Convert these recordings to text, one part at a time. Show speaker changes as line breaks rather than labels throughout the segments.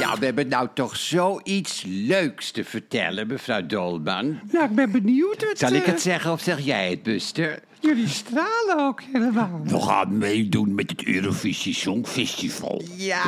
Nou, we hebben nou toch zoiets leuks te vertellen, mevrouw Dolman.
Nou, ik ben benieuwd. Wat,
Zal ik
eh,
het zeggen of zeg jij het, Buster?
Jullie stralen ook helemaal.
We gaan meedoen met het Eurovisie Songfestival.
Ja.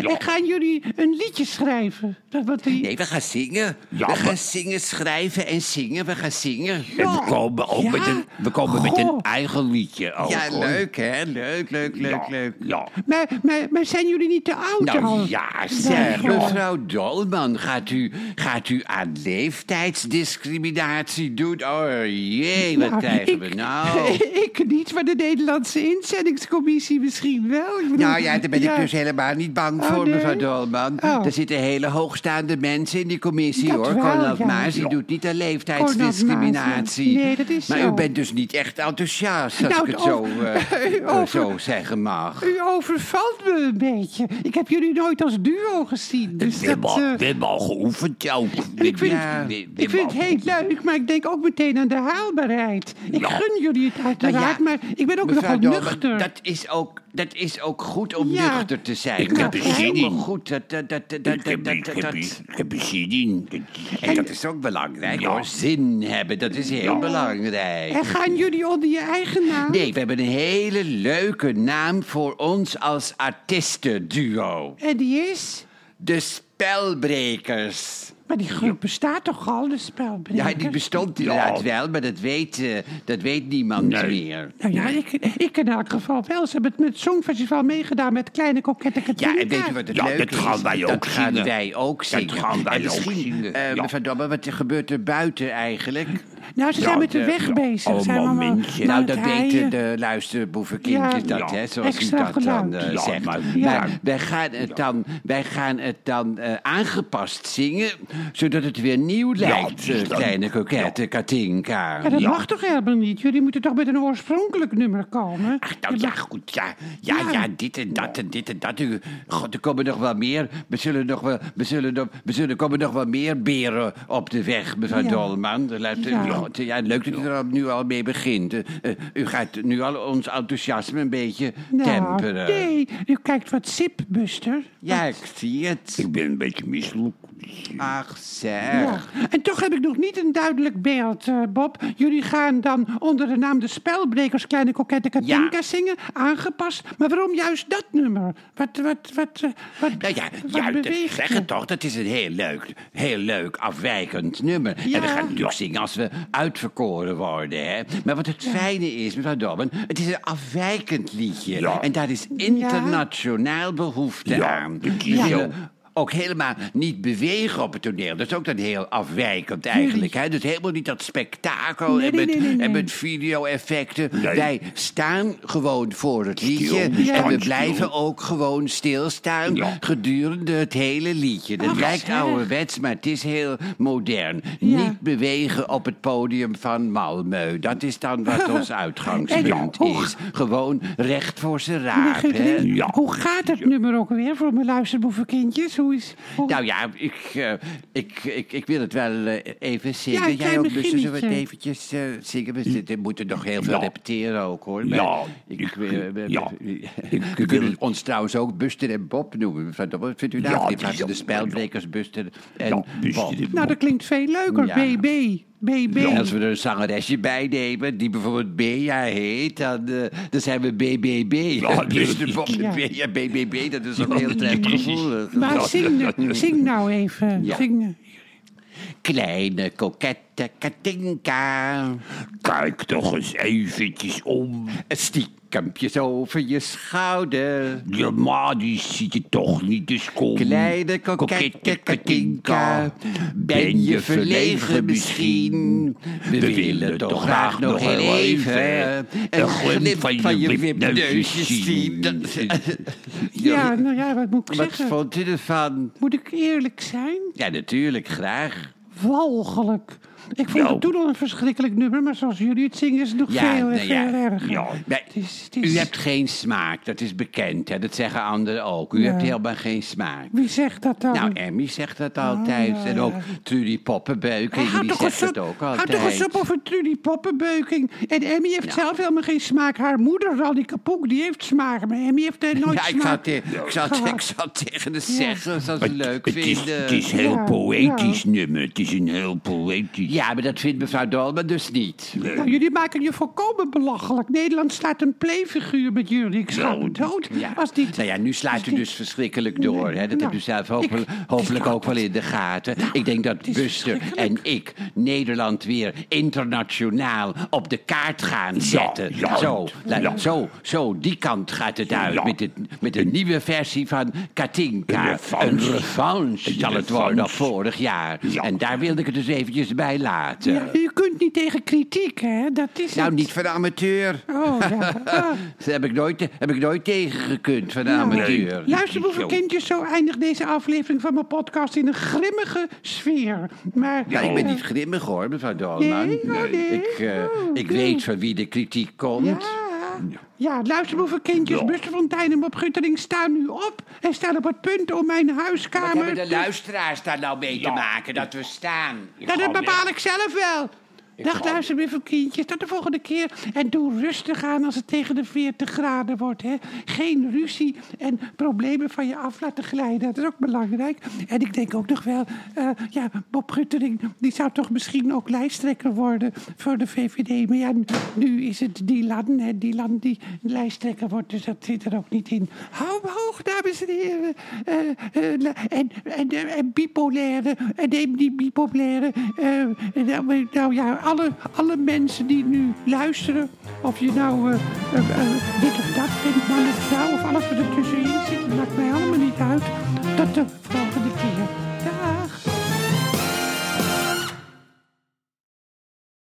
Ik ga jullie een liedje schrijven. Dat wat die...
Nee, we gaan zingen.
Ja,
we gaan
maar-
zingen, schrijven en zingen. We gaan zingen.
En we komen ook
Ja.
met, een, we komen met
Goh.
een eigen liedje ook.
Ja,
hoor.
leuk hè? Leuk, leuk, leuk,
Ja,
leuk.
Ja.
Maar, maar, maar zijn jullie niet te oud al?
Nou ja, zeg,
Nee, joh.
mevrouw Dolman, gaat u, gaat u aan leeftijdsdiscriminatie doen? Oh jee, wat
Nou,
krijgen
ik-
we nou?
Ik niet, maar de Nederlandse inzendingscommissie misschien wel. Ik bedoel,
Nou ja, daar ben ik
ja.
dus helemaal niet bang
Oh,
voor,
nee?
mevrouw Dolman.
Oh.
Er zitten hele hoogstaande mensen in die commissie,
Dat
hoor.
wel,
Konrad
ja.
Maas, die
Ja.
doet niet aan leeftijdsdiscriminatie.
Konrad Maas, ja. Nee, dat is
maar
zo.
u bent dus niet echt enthousiast, als
Nou,
ik het
het
zo,
over-
eh, eh,
over-
zo zeggen mag.
U overvalt me een beetje. Ik heb jullie nooit als duo gezien. Dus
We, hebben
dat,
al,
eh,
we hebben al geoefend ook.
ik vind,
Ja.
het,
we- we
ik vind het
hebben al-
heel leuk, maar ik denk ook meteen aan de haalbaarheid. Ik
Ja.
gun jullie het
Nou ja,
uiteraard, maar ik ben ook
mevrouw
nogal
Dolman,
nuchter.
Dat is, ook, dat is ook goed om
Ja.
nuchter te zijn.
Ik heb
dat
er
is
zin
helemaal
in.
goed. Dat, dat, dat, dat,
Ik heb- ik
dat,
heb-
dat,
Ik heb er zin in. Dat-
En dat is ook belangrijk
Ja.
hoor. Zin hebben, dat is heel belangrijk.
En gaan jullie onder je eigen naam?
Nee, we hebben een hele leuke naam voor ons als artiestenduo.
En die is...
De Spelbrekers.
Maar die groep bestaat toch al, de spelbrekers?
Ja, die bestond inderdaad wel, maar dat weet, eh, dat weet niemand
Nee.
meer.
Nou ja, ik, ik in elk geval wel. Ze hebben het met het Songfestival meegedaan met Kleine Kokette Katrina.
Ja, en weet je wat het
Ja,
leuk
dat
is?
gaan wij ook
dat gaan
zingen.
wij ook
Dat
zingen.
gaan wij
en misschien,
ook zingen,
eh,
ja.
mevrouw Dobbe, wat gebeurt er buiten eigenlijk?
Nou, ze zijn
Ja,
met de
ja,
weg
ja.
bezig.
Allemaal
zijn allemaal
mensen.
aan
Oh, nou,
het
dat
heien.
weten de luisterboevenkindjes
Ja.
dat,
Ja.
hè, zoals u
Extra
dat dan
geluid.
eh,
Ja,
zegt.
maar
Maar,
ja.
wij gaan het dan, wij gaan het dan eh, aangepast zingen, zodat het weer nieuw lijkt,
dus
eh,
dan-
kleine kokette Katinka.
Maar dat
Ja.
mag toch helemaal niet? Jullie moeten toch met een oorspronkelijk nummer komen?
Ach, nou ja, goed, ja. Ja,
Ja.
ja,
dit en dat en dit en dat. U- God, er komen nog wel meer. We zullen nog wel, we zullen nog, we zullen, er komen nog wel meer beren op de weg, mevrouw
Ja.
Dolman. Er lijkt-
Ja.
God, ja, leuk dat u er al- nu al mee begint. Eh, eh, u gaat nu al ons enthousiasme een beetje
Nou,
temperen.
nee. U kijkt wat sip, Buster.
Ja, ik zie het.
ik ben een beetje misselijk. Dus, eh,
Ach,
Ja.
zeg.
En toch heb ik nog niet een duidelijk beeld, eh, Bob. Jullie gaan dan onder de naam De Spelbrekers Kleine Kokette Katinka
Ja.
zingen, aangepast. Maar waarom juist dat nummer? Wat, wat, wat, eh, wat,
Nou ja,
wat
ja dat
beweegt
zeg
je?
het toch. Dat is een heel leuk, heel leuk afwijkend nummer.
Ja.
En we gaan natuurlijk zingen als we uitverkoren worden. Hè? Maar wat het fijne is, mevrouw Dobben, het is een afwijkend liedje.
Ja.
En daar is internationaal behoefte
Ja,
aan.
dat
We
is zo.
willen ook helemaal niet bewegen op het toneel. Dat is ook dan heel afwijkend eigenlijk. Hè? Dus helemaal niet dat spektakel
Nee,
en,
nee,
met,
nee, nee,
en
nee.
met video-effecten.
Nee.
Wij staan gewoon voor het liedje.
we
En
staan
we
stil.
blijven ook gewoon stilstaan
Ja.
gedurende het hele liedje. Dat
Ach,
lijkt
zeg.
ouderwets, maar het is heel modern.
Ja.
Niet bewegen op het podium van Malmö. Dat is dan wat ons uitgangspunt
En hoe-
is. Gewoon recht voor zijn raap. hè?
Guideline,
Ja.
Hoe gaat het nummer ook weer voor mijn luisterboevenkindjes? Hoe is, hoe-
Nou ja, ik, eh, ik, ik, ik wil het wel eh, even
Ja,
zingen.
een
Jij
klein
ook, dus zullen we het
beginnetje.
eventjes eh, zingen? We zitten- moeten nog heel veel
Ja.
repeteren ook, hoor.
Ja,
Maar
ik-
eh, we-
ja.
we-
Ik-
We
ik
kunnen
wil-
ons trouwens ook Buster en Bob noemen. mevrouw Dobbel. Vindt u dat?
Ja,
in
het
plaats
is
van de
ook-
spelbrekers Buster en
ja, dus
Bob.
dit-
Nou, dat klinkt veel leuker.
Ja.
BB. BB.
En als we er een zangeresje bij nemen, die bijvoorbeeld Bea heet, dan, eh, dan zijn we BBB.
Ja,
Buster, Dus Bob en Bea,
ja.
BBB, dat is ook heel
Ja.
trendgevoelig.
Maar
Ja.
zing, zing nou even.
Ja.
Zing.
Kleine kokette Katinka.
Kijk toch eens eventjes om.
Stiekempjes over je schouder.
Ja, maar die ziet je toch niet, dus kom.
Kleine kokette Katinka. Ben je verlegen misschien? We willen toch graag nog heel even een glimp van je wipneusjes zien. Dat-
Ja, nou ja, wat moet ik
Wat
zeggen?
vond u ervan?
Moet ik eerlijk zijn?
Ja, natuurlijk, graag.
Walgelijk. Ik vond
Nou.
het toen al een verschrikkelijk nummer, maar zoals jullie het zingen is het nog veel,
nou
veel erger.
ja. Maar
Het is- het is-
U hebt geen smaak, dat is bekend. Hè? Dat zeggen anderen ook. U hebt helemaal geen smaak.
Wie zegt dat dan?
Nou, Emmy zegt dat altijd.
Oh. ja,
En
ja.
ook Trudy Poppenbeuk,
Hij
die zegt dat ook
Houd toch Oh, eens
altijd.
op over Trudy Poppenbeuking. En Emmy heeft
Nou.
zelf helemaal geen smaak. Haar moeder, al die kapoek, die heeft smaak. Maar Emmy heeft er nooit
Ja, ik
smaak.
zou, het te- ik, zou, het- ik
gehad.
zou het tegen de zeggen, zou ze leuk
het, is,
vinden.
het is heel
Ja,
poëtisch nummer. Het is een heel poëtisch.
Ja, maar dat vindt mevrouw Dolma dus niet.
Nou, jullie maken je volkomen belachelijk. Nederland staat een playfiguur met jullie. Ik sla me dood.
Ja.
Als dit...
Nou ja, nu slaat u
dit-
dus verschrikkelijk door. Hè? Dat
Nou,
hebt u zelf ook
ik-
wel- hopelijk ook wel in de gaten.
Nou,
ik denk dat
is
Buster en
verschrikkelijk.
ik Nederland weer internationaal op de kaart gaan zetten.
ja,
zo,
ja.
la- zo, zo, die kant gaat het uit.
Ja.
Met, het, met een nieuwe versie van Katinka.
Een revanche.
revanche
Een
zal het
revanche.
worden op vorig jaar.
Ja.
En daar wilde ik het dus eventjes bij laten.
Ja, u kunt niet tegen kritiek, hè? Dat is
eh, Nou,
het.
niet van de amateur.
Oh, ja. Ah.
Dat heb ik nooit, heb ik nooit tegengekund van de
Ja.
amateur.
Luister,
Zo.
hoeveel kindjes, zo eindigt deze aflevering van mijn podcast in een grimmige sfeer. Maar,
Ja, ik ben
eh,
niet grimmig hoor, mevrouw Dolman.
Nee? Oh, nee.
Ik, eh,
Oh,
ik
nee.
weet van wie de kritiek komt.
Ja. Ah. Ja, luister hoeveel kindjes.
Ja.
Buster Fontein en Bob Guttering staan nu op. En staan op het punt om mijn
Wat
huiskamer...
hebben de luisteraars daar nou mee te
Ja.
maken dat we staan?
Nou, dat
ga
bepaal ik zelf wel. Dag,
ga
luister, lieve kindjes. Tot de volgende keer. En doe rustig aan als het tegen de 40 graden wordt. Hè. Geen ruzie en problemen van je af laten glijden. Dat is ook belangrijk. En ik denk ook nog wel... eh, ja, Bob Guttering, die zou toch misschien ook lijsttrekker worden voor de VVD. Maar ja, nu is het Dylan, hè. Dylan die lijsttrekker wordt. Dus dat zit er ook niet in. Hou hem hoog, dames en heren. Eh, eh, la- en, en, eh, en bipolaire, en neem die bipolaire. eh, en nou, nou ja, alle, alle mensen die nu luisteren, of je nou eh, eh, eh, dit of dat vindt, man of vrouw, of alles wat er tussenin zit, maakt mij allemaal niet uit. Tot de volgende.